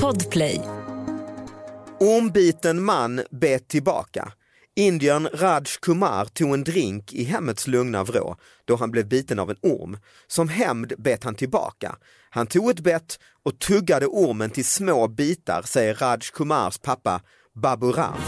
Podplay. Ormbiten man bet tillbaka. Indiern Raj Kumar tog en drink i hemmets lugna vrå då han blev biten av en orm. Som hämnd bet han tillbaka. Han tog ett bett och tuggade ormen till små bitar, säger Raj Kumars pappa Babu Ram.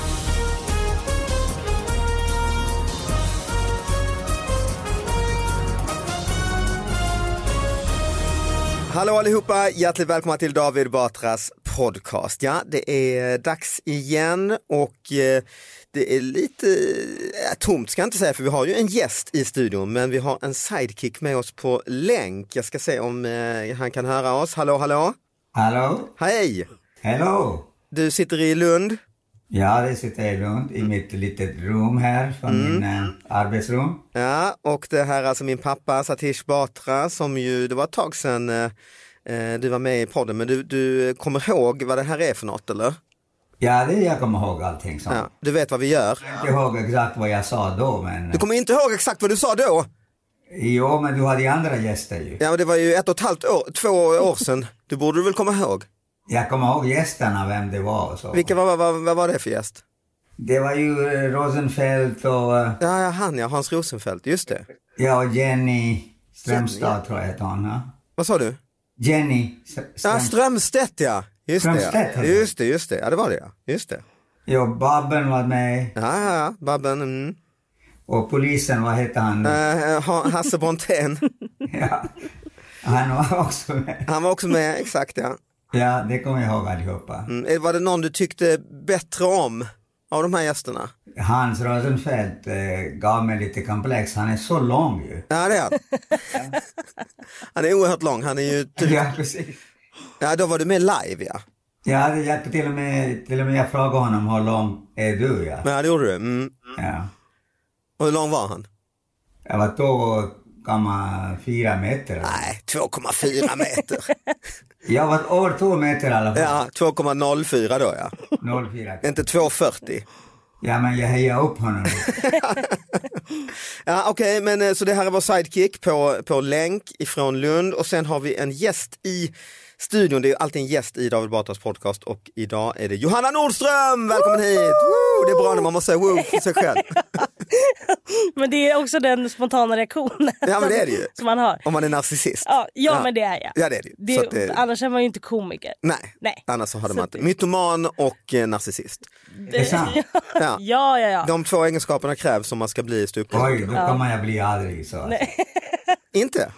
Hallå allihopa, hjärtligt välkomna till David Batras podcast. Ja, det är dags igen och eh, det är lite eh, tomt ska jag inte säga för vi har ju en gäst i studion men vi har en sidekick med oss på länk. Jag ska se om eh, han kan höra oss. Hallå, hallå! Hallå? Hej! Hello! Du sitter i Lund. Ja, det sitter jag runt i mitt litet rum här från Mm. min eh, arbetsrum. Ja, och det här är alltså min pappa Satish Batra som ju, det var ett tag sedan eh, eh, du var med i podden men du, du kommer ihåg vad det här är för något eller? Ja, det jag kommer ihåg allting som. Ja, du vet vad vi gör. Jag kommer inte ihåg exakt vad jag sa då, men... Du kommer inte ihåg exakt vad du sa då? Jo, men du hade ju andra gäster ju. Ja, men det var ju ett och ett halvt år, två år sedan. Du borde du väl komma ihåg. Jag kommer ihåg gästerna, vem det var och så. Vilka var, vad, vad var det för gäst? Det var ju eh, Rosenfeldt och... eh, Ja, ja, han ja, Hans Rosenfeldt, just det. Ja, och Jenny Strömstad tror jag att hon ja. Vad sa du? Jenny Ja, Strömstad. Strömstedt ja. Just det, Strömstedt, ja. heter just det, just det. Ja, det var det ja. Just det. Ja, Babben var med. Ja, ja, ja. Babben. Mm. Och polisen, vad hette han? nu? Eh, ha, Hasse Brontén, Ja. Han var också med. han var också med, exakt ja. Ja, det kommer jag ihåg allihopa. Mm. eh, Var det någon du tyckte bättre om av de här gästerna? Hans Rosenfeldt eh, gav mig lite komplex. Han är så lång ju. Ja, det är han. Han är oerhört lång, han är ju... dryg- Ja, precis. Ja, då var du med live ja. Jag hade jag, till, och med, till och med jag frågade honom hur lång är du? Ja. Ja, det gjorde du. Mm. Ja. Och hur lång var han? Jag var 2,4 meter. Nej, 2,4 meter. Jag var över 2 meter i alla fall. Ja, 2,04 då ja. 04. Inte 2,40. Ja, men jag hejade upp honom. lite. Ja, okej, men eh, så det här är vår sidekick på, på länk ifrån Lund och sen har vi en gäst i studion. Det är ju alltid en gäst i David Batras podcast och idag är det Johanna Nordström! Välkommen hit! Woo! Det är bra när man måste säga woo för sig själv. Men det är också den spontana reaktionen Ja, men det är det ju. som man har. Om man är narcissist. Ja, ja, Ja. men det är jag. Ja, det är det ju. Det, Så att det- Annars är man ju inte komiker. Nej. Nej. annars så hade man Så inte. Mytoman och eh, narcissist. Det är sant. Ja. Ja, ja, ja. De två egenskaperna krävs om man ska bli ståuppkomiker. Oj, då kommer jag bli aldrig så. Alltså. Inte?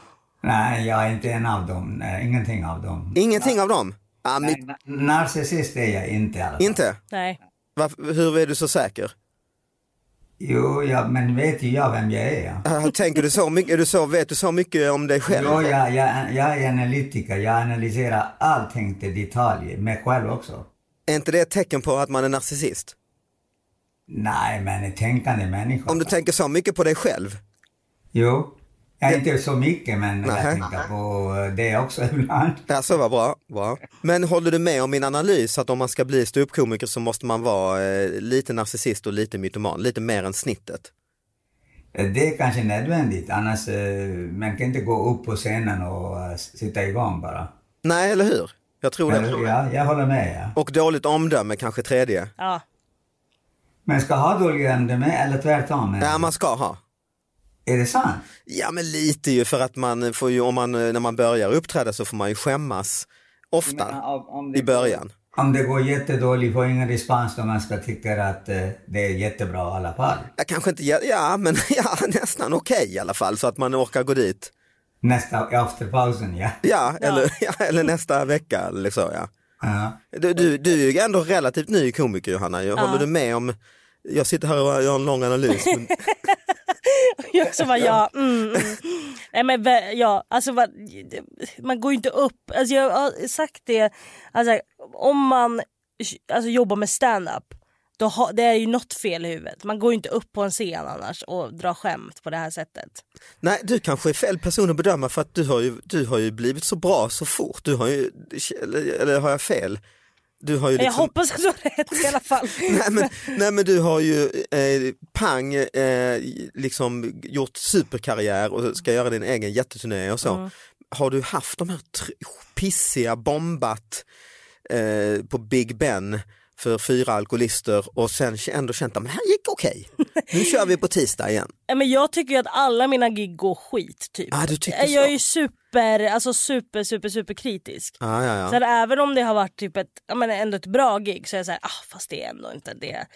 Nej, jag är inte en av dem. Nej, ingenting av dem. Ingenting av dem? Ja, my- Na- Narcissist är jag inte alltså. i alla fall. Inte? Nej. Varför, hur är du så säker? Jo, ja, men vet ju jag vem jag är. Ja. Äh, Tänker du så mycket, är du så, vet du så mycket om dig själv? Jo, jag, jag, jag är analytiker. Jag analyserar allting till detalj, mig själv också. Är inte det ett tecken på att man är narcissist? Nej, men en tänkande människa. Om du tänker så mycket på dig själv? Jo, jag är inte så mycket, men Nähä. jag tänker på det också ibland. Ja, så var bra, bra. Men håller du med om min analys att om man ska bli ståuppkomiker så måste man vara eh, lite narcissist och lite mytoman, lite mer än snittet? Det är kanske nödvändigt, annars eh, man kan inte gå upp på scenen och eh, sitta igång bara. Nej, eller hur? Jag tror Men, det. ja, jag håller med. Ja. Och dåligt omdöme kanske tredje. Ja. Men ska ha dåliga omdömen eller tvärtom? Men, Ja, man ska ha. Är det sant? Ja men lite ju för att man får ju, om man, eh, när man börjar uppträda så får man ju skämmas ofta i början. Om det går jättedåligt, får ingen respons då man ska tycka att eh, det är jättebra i alla fall. Ja, kanske inte, ja, ja men ja, nästan okej i alla fall så att man orkar gå dit. Nästa, efter pausen, ja. Ja, Eller, ja, eller nästa vecka eller så ja. ja. Du, du, du är ju ändå relativt ny komiker Johanna, Jag håller du med om, jag sitter här och gör en lång analys. Men, Jag också bara ja. Mm, mm. Nej men vä- ja, alltså vad- man går ju inte upp. Alltså jag har sagt det, alltså om man alltså, jobbar med stand-up då har, det är ju något fel i huvudet. Man går ju inte upp på en scen annars och drar skämt på det här sättet. nej, du kanske är fel person att bedöma för att du har ju, du har ju blivit så bra så fort. Du har ju, eller, eller har jag fel? Du har ju Men jag liksom... hoppas att du har rätt i alla fall. Nej men, nej men du har ju eh, pang eh, liksom gjort superkarriär och ska göra din egen jätteturné och så. har du haft de här tr- pissiga bombat eh, på Big Ben för fyra alkoholister och sen ändå känt att men det här gick okej. Nu kör vi på tisdag igen. Ja, Men jag tycker ju att alla mina gig går skit typ. Ah, du tycker jag är så. ju super, alltså super, super, super kritisk. Ah, ja, ja. Så att även om det har varit typ ett, ja, men ändå ett bra gig så är jag såhär, ah, fast det är ändå inte det.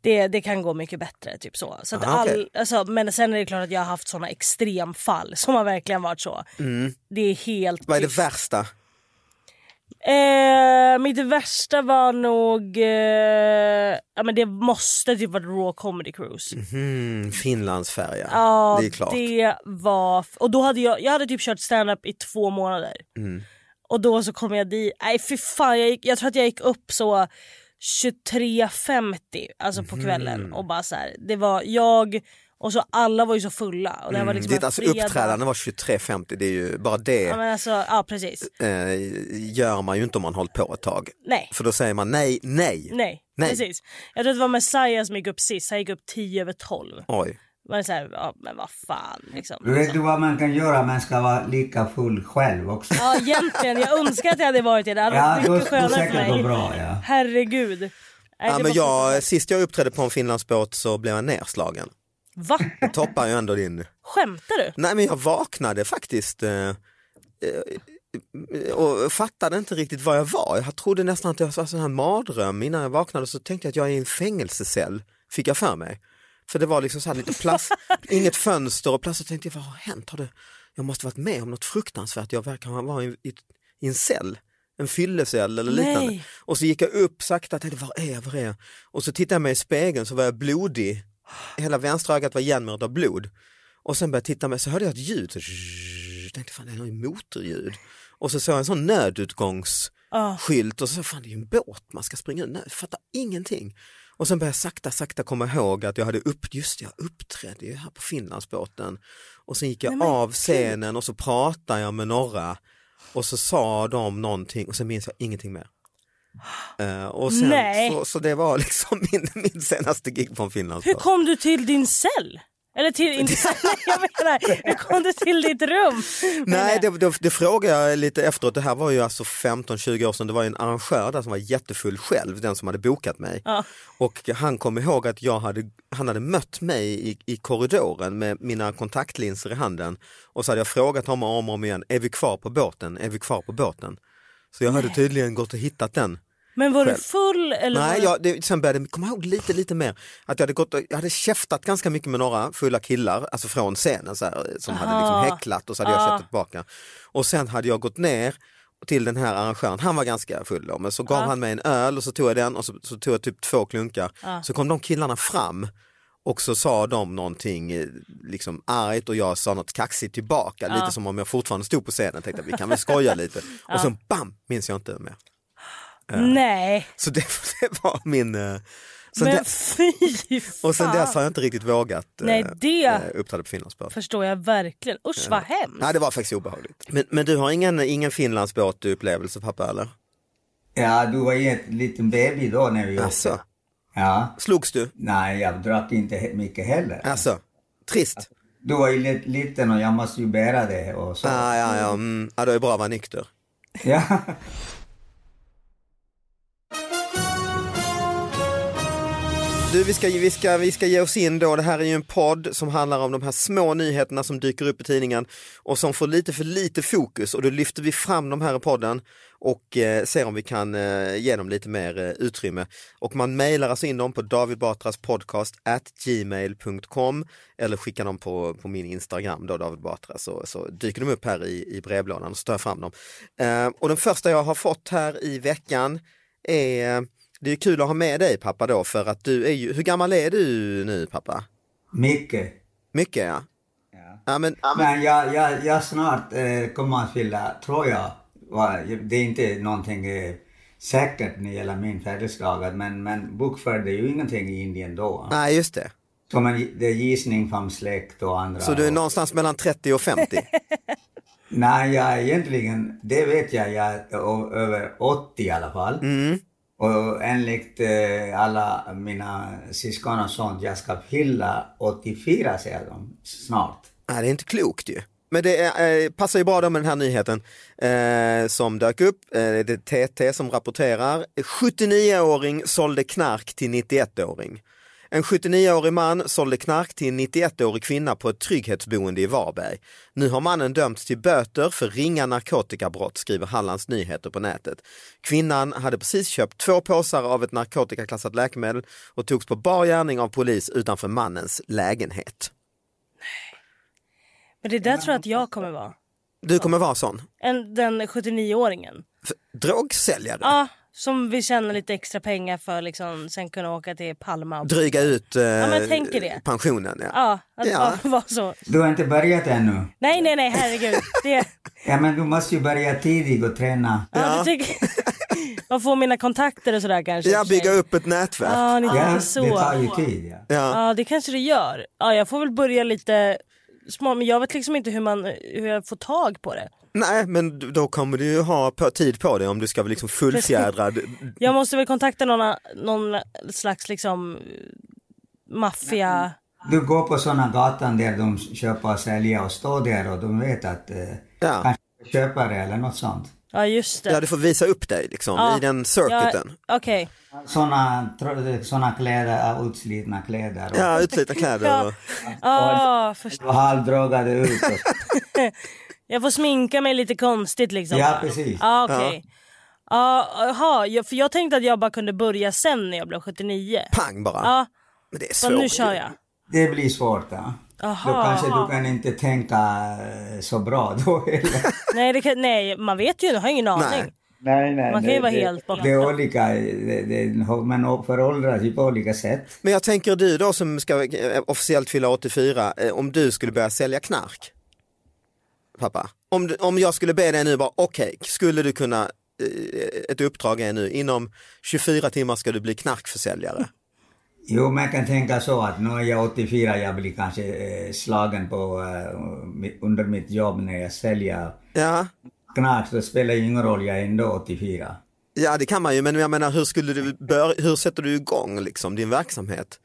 Det, det kan gå mycket bättre. Typ så. Så att Ah, all, okej. alltså, men sen är det klart att jag har haft såna extremfall som har verkligen varit så. Det är helt Mm. Vad är det tyst. värsta? Eh, mitt värsta var nog... Eh, ja, men det måste typ varit Raw Comedy Cruise. Mm, Finlandsfärja. Ja, det är klart. det var... Och då hade jag, jag hade typ kört stand-up i två månader. Mm. Och då så kom jag dit. Nej fy fan, jag, gick, jag tror att jag gick upp så 23.50 alltså på Mhm. kvällen. Och bara så här, det var jag och så alla var ju så fulla. Och det här var liksom Ditt en alltså, fredag. uppträdande var 23.50, det är ju bara det Ja, men alltså, ja precis. eh, gör man ju inte om man hållit på ett tag. Nej. För då säger man nej, nej. Nej, Nej. precis. Jag tror att det var Messiah som gick upp sist, han gick upp 10 över 12. Oj. Man är så här, ja, men vad fan liksom. Vet du vad man kan göra? Man ska vara lika full själv också. Ja egentligen, jag önskar att jag hade varit det. Det hade Ja, varit då mycket skulle skönare för säkert gå mig. bra. Ja. Herregud. Nej, Ja, det men var- jag, sist jag uppträdde på en Finlandsbåt så blev jag nerslagen. Va? Det toppar ju ändå din... Skämtar du? Nej men jag vaknade faktiskt eh, eh, och fattade inte riktigt vad jag var. Jag trodde nästan att jag var sån här mardröm innan jag vaknade så tänkte jag att jag är i en fängelsecell, fick jag för mig. För det var liksom så här lite plast, inget fönster och plötsligt tänkte jag vad har hänt? Har det, jag måste varit med om något fruktansvärt, jag verkar vara i, i, i en cell. En fyllecell eller liknande. Nej. Och så gick jag upp sakta och tänkte, var är jag, var är jag? Och så tittade jag mig i spegeln så var jag blodig. Hela vänstra ögat var igenmurrat av blod. Och sen började jag titta mig så hörde jag ett ljud. Så zzzz, tänkte fan det är något motorljud. Och så såg jag en sån Ah. nödutgångsskylt och så sa jag, fan det är ju en båt man ska springa ur. Nej, jag fattar ingenting. Och sen började jag sakta sakta komma ihåg att jag hade upp, just det, jag uppträdde ju här på Finlandsbåten. Och sen gick jag av scenen och så pratade jag med några och så sa de någonting och sen minns jag ingenting mer. Eh, och sen, Nej. så, så det var liksom min, min senaste gig på en Hur Finlandsbåt. kom du till din cell? Eller till, inte cell, nej, jag menar, hur kom du till ditt rum? Nej, det, det, det frågade jag lite efteråt. Det här var ju alltså 15-20 år sedan. Det var ju en arrangör där som var jättefull själv, den som hade bokat mig. Ja. Och han kom ihåg att jag hade, han hade mött mig i, i korridoren med mina kontaktlinser i handen. Och så hade jag frågat honom om och om igen, är vi kvar på båten? Är vi kvar på båten? Så jag hade tydligen gått och hittat den. Men var Själv. du full eller? var Nej, du- jag, det, sen började jag komma ihåg lite, lite mer att jag hade, gått och, jag hade käftat ganska mycket med några fulla killar, alltså från scenen så här, som hade Aha. Ah. liksom häcklat och så hade jag käftat tillbaka. Och sen hade jag gått ner till den här arrangören, han var ganska full då, men så Ah. gav han mig en öl och så tog jag den och så, så tog jag typ två klunkar. Ah. Så kom de killarna fram och så sa de någonting eh, liksom argt och jag sa något kaxigt tillbaka, Ah. lite som om jag fortfarande stod på scenen tänkte att vi kan väl skoja lite. Och sen Ah. bam, minns jag inte mer. Nej, Så det, det var min... eh, sen men det- fy fan. och sen dess har jag inte riktigt vågat Nej, det- eh, uppträda på Finlandsbåt. Förstår jag verkligen. Usch vad hemskt. Nej det var faktiskt obehagligt. Men, men du har ingen, ingen Finlandsbåt-upplevelse pappa eller? ja, du var ju en liten baby då när vi Alltså, Ja. slogs du? Nej, jag drack inte he- mycket heller. Alltså, trist. Du var ju li- liten och jag måste ju bära det och så. Ah, ja, ja, mm. ja, det är bra att vara nykter. Ja. Du, vi ska, vi, ska, vi ska ge oss in då. Det här är ju en podd som handlar om de här små nyheterna som dyker upp i tidningen och som får lite för lite fokus och då lyfter vi fram de här i podden och eh, ser om vi kan eh, ge dem lite mer eh, utrymme. Och man mejlar alltså in dem på davidbatraspodcast@gmail.com eller skickar dem på, på min Instagram då, David Batra, så, så dyker de upp här i, i brevlådan och så tar jag fram dem. Eh, och den första jag har fått här i veckan är det är kul att ha med dig pappa då för att du är ju, hur gammal är du nu pappa? Mycket. Mycket ja. Ja. Ja men, Men jag, jag, jag snart eh, kommer att fylla, tror jag. va, Det är inte någonting eh, säkert när det gäller min födelsedag, men, men bokförde ju ingenting i Indien då. nej just det. Som en, det är gissning från släkt och andra. Så du är och- någonstans mellan 30 och 50? Nej, jag är egentligen, det vet jag, jag är ö- över 80 i alla fall. Mm. Och enligt eh, alla mina syskon och sånt, jag ska fylla 84 säger de snart. Nej det är inte klokt ju. men det är, eh, passar ju bra då med den här nyheten eh, som dök upp. Eh, det är TT som rapporterar. 79-åring sålde knark till 91-åring. En 79-årig man sålde knark till en 91-årig kvinna på ett trygghetsboende i Varberg. Nu har mannen dömts till böter för ringa narkotikabrott, skriver Hallands Nyheter på nätet. Kvinnan hade precis köpt två påsar av ett narkotikaklassat läkemedel och togs på bar gärning av polis utanför mannens lägenhet. Men det där tror jag att jag kommer vara. Du kommer vara sån? En, den 79-åringen. F- Drogsäljare? Ja, som vill tjäna lite extra pengar för liksom sen kunna åka till Palma. och- Dryga ut eh, men tänker det. pensionen? Ja. Ja, att Ja. bara vara så. Du har inte börjat ännu. Nej, nej, nej, herregud. Det, Ja, men du måste ju börja tidigt och träna. ja. du tycker, man får mina kontakter och sådär kanske. Jag bygger upp ett nätverk. Ja, ni tänker Ja, så. det tar ju tid. Ja. Ja. Ja det kanske det gör. Ja, jag får väl börja lite små men jag vet liksom inte hur, man, hur jag får tag på det. Nej, men d- då kommer du ju ha på, tid på dig om du ska vara liksom fullfjädrad. Jag måste väl kontakta någon, någon slags liksom maffia... Du går på sådana gatan där de köper och säljer och står där och de vet att eh, Ja. kanske köpare eller något sånt. Ja just det. ja, du får visa upp dig liksom Ja. i den circuiten. Ja, Okej. Sådana såna kläder, äh, utslitna kläder och, Ja, utslitna kläder. och- Ah, först- och halvdragade ut. Och, jag får sminka mig lite konstigt liksom. Ja, precis. Ja okej. Ja, jaha, jag- för jag tänkte att jag bara kunde börja sen när jag blev 79. Pang bara. Ja, Men det är så svårt. nu kör jag. det blir svårt. Ja. Då Aha. kanske du kan inte tänka eh, så bra då heller. Nej, det kan, nej, man vet ju, jag har ingen aning. Nej. Nej, nej. Man kan ju nej, vara det, helt borta. Det är olika, det, det, man föråldras ju på olika sätt. Men jag tänker du då som ska eh, officiellt fylla 84, eh, om du skulle börja sälja knark? Pappa, om, du- om jag skulle be dig nu bara, okej, skulle du kunna, eh, ett uppdrag är nu, inom 24 timmar ska du bli knarkförsäljare. Jo, man kan tänka så att nu är jag 84, jag blir kanske eh, slagen på, eh, mi- under mitt jobb när jag säljer Ja, knark, så spelar ju ingen roll, jag är ändå 84. ja det kan man ju, men jag menar hur, skulle du bör, hur sätter du igång liksom, din verksamhet?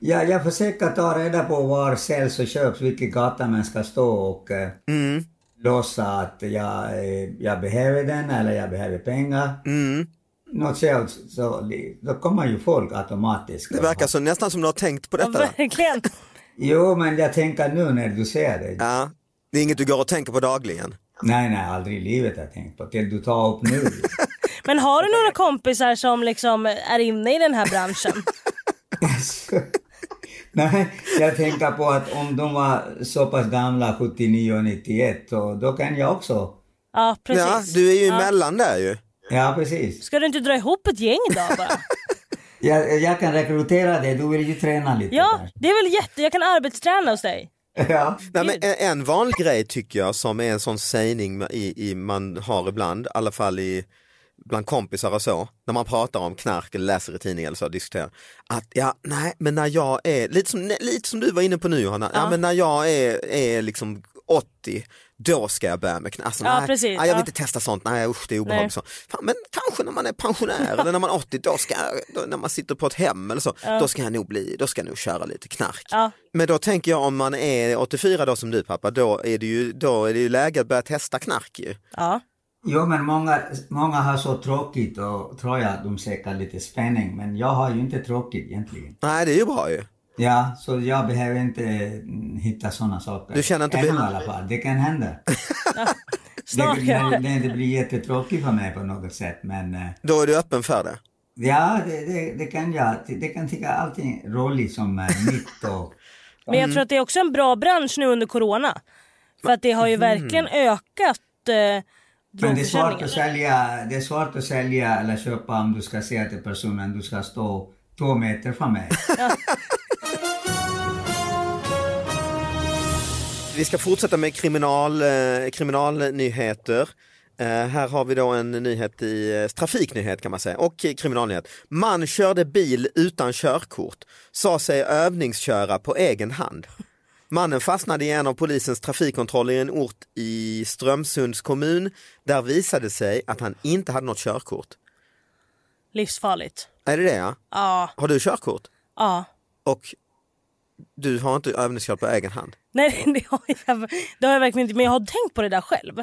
Ja, jag försöker ta reda på var säljs och köps, vilken gata man ska stå och eh, Mm, låsa att jag, eh, jag behöver den eller jag behöver pengar. mm. Något sånt, så, då kommer ju folk automatiskt. Det verkar så, nästan som du har tänkt på Ja, detta. verkligen. Jo, men jag tänker nu när du säger det. Ja, det är inget du går och tänker på dagligen. Nej, nej, aldrig i livet har jag tänkt på. Till du tar upp nu. Men har du några kompisar som liksom är inne i den här branschen? Nej, jag tänker på att om de var så pass gamla, 79 och 91, så då kan jag också. Ja precis. Ja, du är ju emellan där ju. Ja, precis. Ska du inte dra ihop ett gäng då bara? Jag, jag kan rekrytera dig, du vill ju träna lite Ja, kanske. det är väl jätte... Jag kan arbetsträna hos dig. Ja. Nej, men en- en vanlig grej tycker jag som är en sån sägning ma- i, i, man har ibland, i alla fall i, bland kompisar och så, när man pratar om knark eller läser i tidningen eller så, diskuterar, att ja, nej, men när jag är, lite som, nej, lite som du var inne på nu Johanna, ja. men när jag är, är liksom 80, då ska jag börja med knark. Alltså, Ja, nej, precis, nej, jag vill ja. inte testa sånt, nej usch det är obehagligt. Nej. Så. Fan, men kanske när man är pensionär eller när man är 80, då ska jag, då, när man sitter på ett hem eller så, då ska jag nog bli, då ska jag nog köra lite knark. Ja. Men då tänker jag om man är 84 då som du pappa, då är det ju, då är det ju läge att börja testa knark ju. Ja. Jo, men många, många har så tråkigt och tror jag att de söker lite spänning, men jag har ju inte tråkigt egentligen. Nej det är ju bra ju. Ja, så jag behöver inte mm, hitta sådana saker. Du känner inte- Ännu i alla fall, det kan hända. Snart det, kan det, det. det, det blir jättetråkigt för mig på något sätt, men eh, Då är du öppen för det. Ja, det, det, det kan jag. Det, det kan tycka allting är roligt som är nytt och... Men jag tror att det är också en bra bransch nu under corona. För att det har ju verkligen ökat eh, Men det är, svårt drogförsäljningen. att sälja, det är svårt att sälja eller köpa om du ska säga till personen du ska stå två meter från mig. Vi ska fortsätta med kriminal, eh, kriminalnyheter. Eh, här har vi då en nyhet i eh, trafiknyhet kan man säga och eh, kriminalnyhet. Man körde bil utan körkort, sa sig övningsköra på egen hand. Mannen fastnade i en av polisens trafikkontroller i en ort i Strömsunds kommun. Där visade sig att han inte hade något körkort. Livsfarligt. Är det det ja? Ja, Har du körkort? ja. Och du har inte övningskört på egen hand? Nej det har, jag, det har jag verkligen inte men jag har tänkt på det där själv.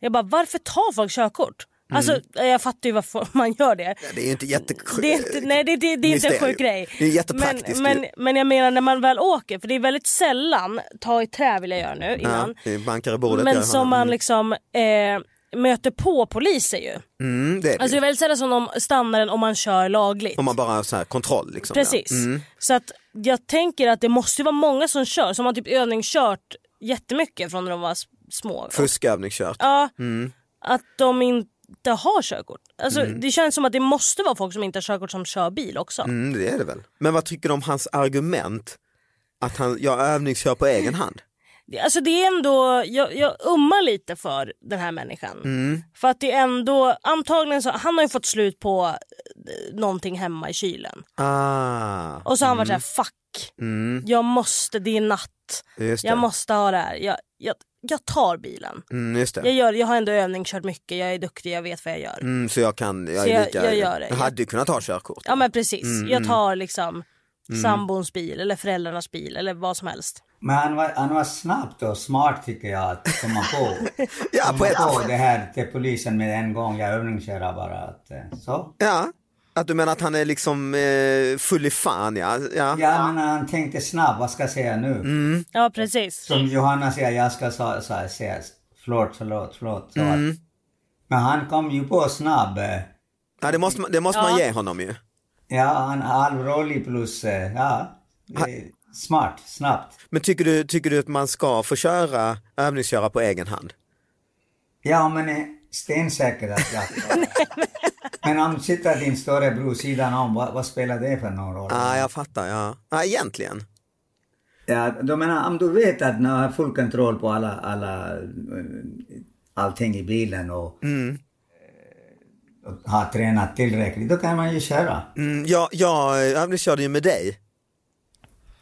Jag bara varför tar folk körkort? Alltså jag fattar ju varför man gör det. Det är ju inte jättesjukt. Det är inte, nej det, det, det är inte en sjuk grej. Det är jättepraktiskt men, ju. men, men jag menar när man väl åker, för det är väldigt sällan, ta i trä vill jag göra nu innan. Ja, det bankar i bordet. men där. som man liksom eh, möter på poliser ju. mm, det är det. Alltså det är väldigt sällan som de stannar en om man kör lagligt. Om man bara har så här kontroll liksom. ja. Precis. Så att jag tänker att det måste ju vara många som kör, som har typ övningskört jättemycket från när de var s- små. Fuskövning kört. Ja, Mm. Att de inte har körkort. Alltså, Det känns som att det måste vara folk som inte har körkort som kör bil också. Mm, det är det väl. Men vad tycker du om hans argument att han, jag övningskör på egen hand? Det- Alltså det är ändå, jag, jag ummar lite för den här människan. Mm. För att det är ändå, antagligen så, han har ju fått slut på eh, någonting hemma i kylen. Ah, Och så har han varit såhär, fuck, mm, jag måste, det är natt, just jag det. måste ha det här, jag, jag, jag tar bilen. Mm, just Jag, det. gör, jag har ändå övning, kört mycket, jag är duktig, jag vet vad jag gör. Mm, så jag kan, jag Så är jag- lika, jag gör det. Jag hade ju kunnat ta körkort. Ja men precis, Mm, jag tar liksom sambons bil eller föräldrarnas bil eller vad som helst. Men han var, han var snabbt och smart tycker jag att komma på. Ja, på komma ett, på det här till polisen med en gång. Jag övningskörar bara. Att, eh, så. ja, att du menar att han är liksom eh, full i fan ja. ja. Mm. Ja, men han tänkte snabbt. Vad ska jag säga nu? Ja precis. Som Johanna säger, jag ska så, så här säga förlåt, förlåt, förlåt. Så. Mm. att- Men han kom ju på snabb. eh, Ja, det måste, man, det måste man ge honom ju. Ja, han är allvarlig plus, eh, ja, eh, smart, snabbt. Men tycker du, tycker du att man ska få köra, övningsköra på egen hand? Ja, men eh, stensäker att jag Men om sitter din storebror sidan om, vad, vad spelar det för någon roll? Ah, Ja, jag fattar. Ja, ja egentligen. Ja, då menar, om du vet att man har full kontroll på alla, alla, eh, allting i bilen och, eh, och har tränat tillräckligt, då kan man ju köra. Mm, jag, jag eh, övningskörde ju med dig.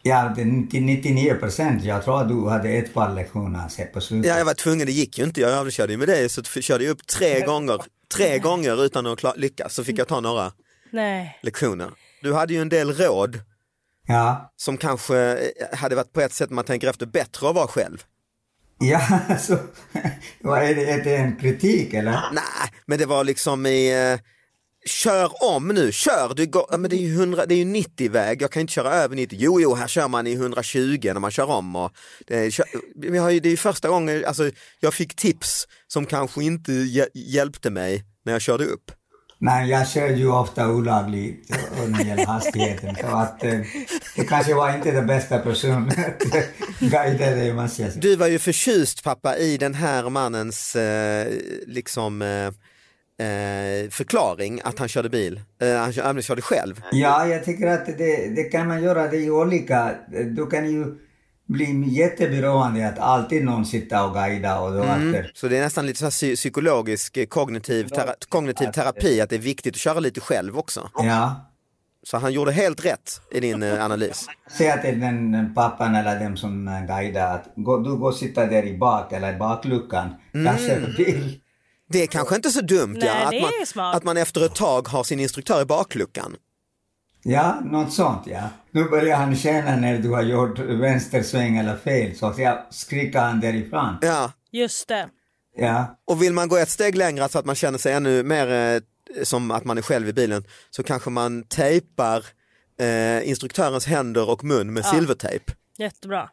Ja, det är 90 99 procent. Jag tror att du hade ett par lektioner sen på slutet. Ja, jag var tvungen, det gick ju inte. Jag övningskörde ju med dig så f- körde jag upp tre gånger. Tre gånger utan att kla- lyckas så fick jag ta några Nej. lektioner. Du hade ju en del råd Ja, som kanske eh, hade varit på ett sätt man tänker efter bättre att vara själv. ja så, vad är, det, är det en kritik eller? Nej, men det var liksom i eh, Kör om nu, kör! Du går, ja, men det är ju 100, det är ju 90 väg, jag kan inte köra över 90. Jo, jo, här kör man i 120 när man kör om. Och det, är, kö- vi har ju, det är ju första gången alltså, jag fick tips som kanske inte hj- hjälpte mig när jag körde upp. Nej, jag kör ju ofta olagligt och när det gäller hastigheten. Så att eh, det kanske var inte den bästa personen att eh, guida dig om man säger så. Du var ju förtjust pappa i den här mannens eh, liksom eh, eh, förklaring att han körde bil, eh, han kö- han körde själv. Ja, jag tycker att det, det kan man göra. Det är ju olika. Du kan ju bli jätteberoende att alltid någon sitter och guida och då efter Så det är nästan lite så här psy- psykologisk eh, kognitiv, tera kognitiv terapi, att det är viktigt att köra lite själv också. Ja. Så han gjorde helt rätt i din eh, analys. Säga till den den pappan eller dem som eh, guidar att gå, du går och sitta där i bak eller i bakluckan. Jag kör bil. Det är kanske inte så dumt Nej, ja, det att, är man, ju smart. att man efter ett tag har sin instruktör i bakluckan. Ja, något sånt ja. Nu börjar han känna när du har gjort vänstersväng eller fel så att jag skriker han därifrån. Ja. Just det. Ja, Och vill man gå ett steg längre så att man känner sig ännu mer eh, som att man är själv i bilen så kanske man tejpar eh, instruktörens händer och mun med silvertejp. Jättebra.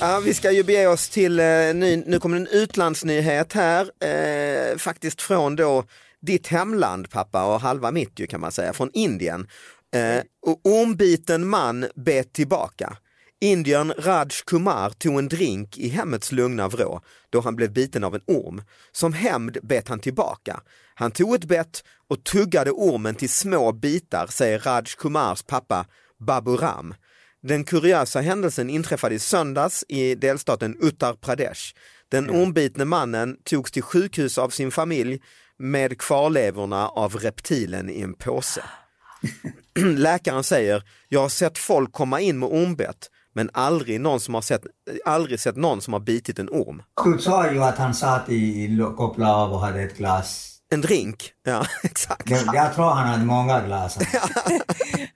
Ja, vi ska ju bege oss till, eh, ny, nu kommer en utlandsnyhet här, eh, faktiskt från då ditt hemland pappa och halva mitt ju kan man säga, från Indien. Eh, och ombiten man bet tillbaka. Indiern Raj Kumar tog en drink i hemmets lugna vrå då han blev biten av en orm. Som hämnd bet han tillbaka. Han tog ett bett och tuggade ormen till små bitar, säger Raj Kumars pappa Baburam. Den kuriösa händelsen inträffade i söndags i delstaten Uttar Pradesh. Den Mm. ombitne mannen togs till sjukhus av sin familj med kvarlevorna av reptilen i en påse. Läkaren säger, jag har sett folk komma in med ormbett men aldrig, någon som har sett, aldrig sett någon som har bitit en orm. du sa ju att han satt i, i lo- kopplade av och hade ett glas En drink? Ja, exakt. Jag, jag tror han hade många glas. Ja,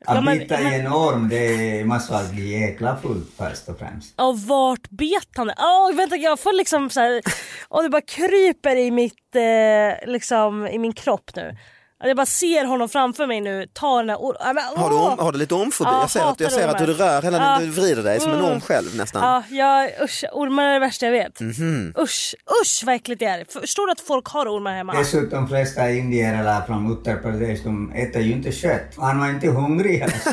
Att men- bita i en orm, det måste bli jäkla fullt först och främst. Ja, vart bet han? Åh, vänta, jag får liksom så här... Åh, det bara kryper i, mitt, eh, liksom, i min kropp nu. Att Jag bara ser honom framför mig nu, ta den här or- Ja, men, Har du, åh! om, har du lite ormfobi? Ja, jag ser, att, jag hatar ser att du ormar. rör hela, Ja. du vrider dig som en Mm. orm själv nästan. Ja, jag, usch, ormar är det värsta jag vet. Mhm. Usch, usch vad äckligt det är. Förstår du att folk har ormar hemma? Dessutom de flesta indier eller från Uttar Pradesh, de äter ju inte kött. Han var inte hungrig. Alltså.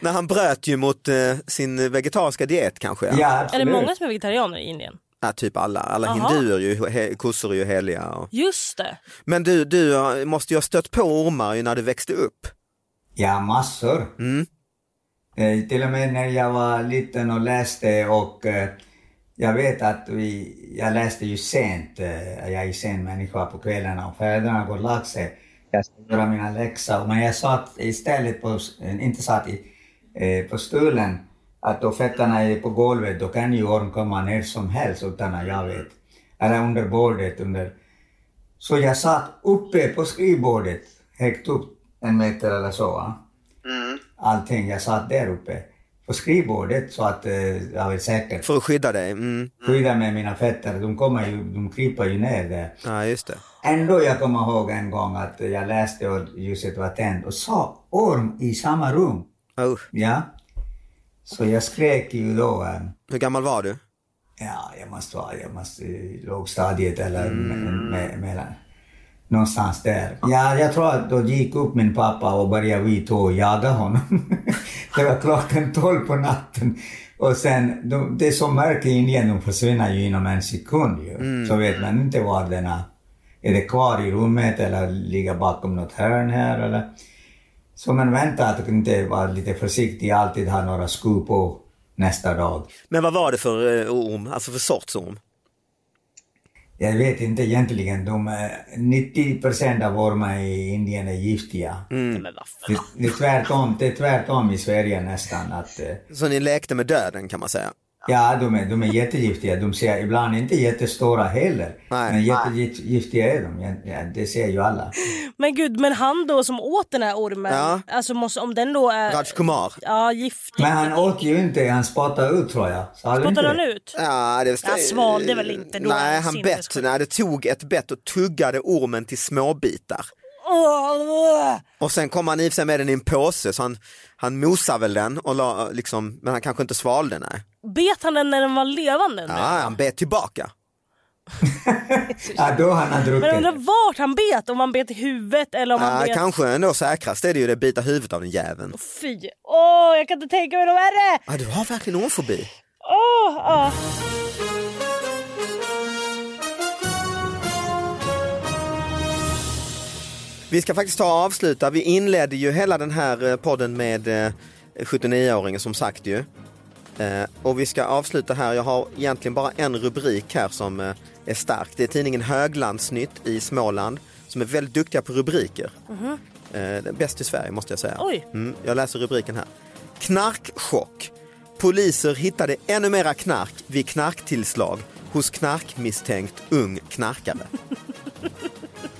När han bröt ju mot eh, sin vegetariska diet kanske. Ja. Ja, Är det absolut. många som är vegetarianer i Indien? Ja, typ alla, alla Aha. hinduer, är ju, he, kossor är ju heliga. Och... Just det. Men du, du har- måste ju ha stött på ormar ju när du växte upp. Ja, massor. Mm. Eh, till och med när jag var liten och läste och eh, jag vet att vi, jag läste ju sent. Eh, jag är sen människa på kvällarna och föräldrarna går och lagt sig. Jag ska göra mina läxor. Men jag satt istället på, eh, inte satt i, eh, på stolen, att då fötterna är på golvet, då kan ju orm komma ner som helst utan att jag vet. Eller under bordet, under... Så jag satt uppe på skrivbordet, högt upp, en meter eller så. va allting. Jag satt där uppe på skrivbordet så att eh, jag var säker. För att skydda dig. Mm. Skydda med mina fötter. De kommer ju, de kryper ju ner där. Ja, just det. Ändå jag kommer ihåg en gång att jag läste och ljuset var tänt och sa orm i samma rum. Oh. Ja. Så jag skrek ju då. eh, Hur gammal var du? Ja, jag måste vara jag måste, i lågstadiet eller me, me, mellan. Någonstans där. Ja, jag tror att då gick upp min pappa och började vi två jaga honom. det var klockan tolv på natten. Och sen, de, det är så mörkt i Indien, de försvinner ju inom en sekund ju. Så vet man inte var den är. Är det kvar i rummet eller ligger bakom något hörn här eller? Så man väntar att inte vara lite försiktig, alltid ha några skor på nästa dag. Men vad var det för eh, orm, alltså för sorts orm? Jag vet inte egentligen. De, eh, 90 procent av ormar i Indien är giftiga. Mm. Men vad fan. Det, det, är tvärtom, det är tvärtom i Sverige nästan. Att, eh, Så ni lekte med döden kan man säga. ja, de är, de är jättegiftiga. De ser ibland inte jättestora heller. Nej. men jättegiftiga är de. Ja, Ja, det ser ju alla. Men gud, men han då som åt den här ormen, Ja. alltså måste, om den då är Rajkumar. ja, giftig, Men han åt ju inte. Han spottade ut tror jag. Sa du inte spottade det? han ut? Ja, det Han svalde väl inte då, Nej, han han bett. sinnessjuk. Nej, det tog ett bett och tuggade ormen till småbitar. Åh, åh. Och sen kom han i och för sig med den i en påse så han, han mosade väl den och la, liksom, men han kanske inte svalde nej. Bet han den när den var levande? Ja, nu? han bet tillbaka. Ja, då han har Men jag undrar druckit. vart han bet, om han bet i huvudet eller om han Ja, bet... Ah, kanske ändå säkrast är det ju det bita huvudet av den jäveln. Fy, åh jag kan inte tänka mig något värre! Ja, du har verkligen ormfobi. Åh, ja. Vi ska faktiskt ta och avsluta. Vi inledde ju hela den här eh, podden med eh, 79-åringen som sagt ju. Eh, Och vi ska avsluta här. Jag har egentligen bara en rubrik här som eh, är stark. Det är tidningen Höglandsnytt i Småland som är väldigt duktiga på rubriker. Eh, den Bäst i Sverige måste jag säga. Oj. Mm, jag läser rubriken här. Knarkchock. Poliser hittade ännu mera knark vid knarktillslag hos knarkmisstänkt ung knarkare.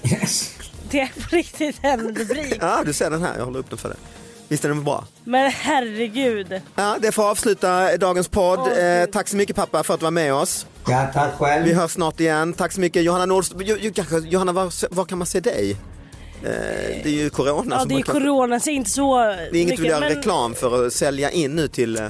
Yes. det är på riktigt en rubrik. Ja, du ser den här. Jag håller upp den för dig. Visst är den bra? Men herregud. Ja, det får avsluta dagens podd. Åh, eh, Gud. tack så mycket pappa för att du var med oss. Ja, tack själv. Vi hörs snart igen. Tack så mycket Johanna Nordström. Jo, jo, kanske- Johanna, var, var kan man se dig? Eh, det är ju corona. Ja som det är Alltså, man ju kan- corona så inte så det är inget vi vill göra men- reklam för att sälja in nu till... eh,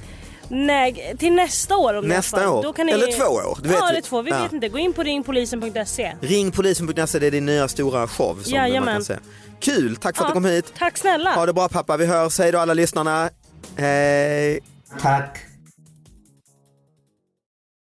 Nej, till nästa år om ni Nästa har fan. år. Då kan ni... Eller två år, det vet ja, vi. eller två, vi Ja. vet inte. Gå in på ringpolisen.se. Ringpolisen.se, det är din nya stora show som Jajamän. man kan se. Kul, tack för Ja, att du kom hit. Tack snälla. Ha det bra pappa, vi hörs. Hej då alla lyssnarna. Hej. Tack.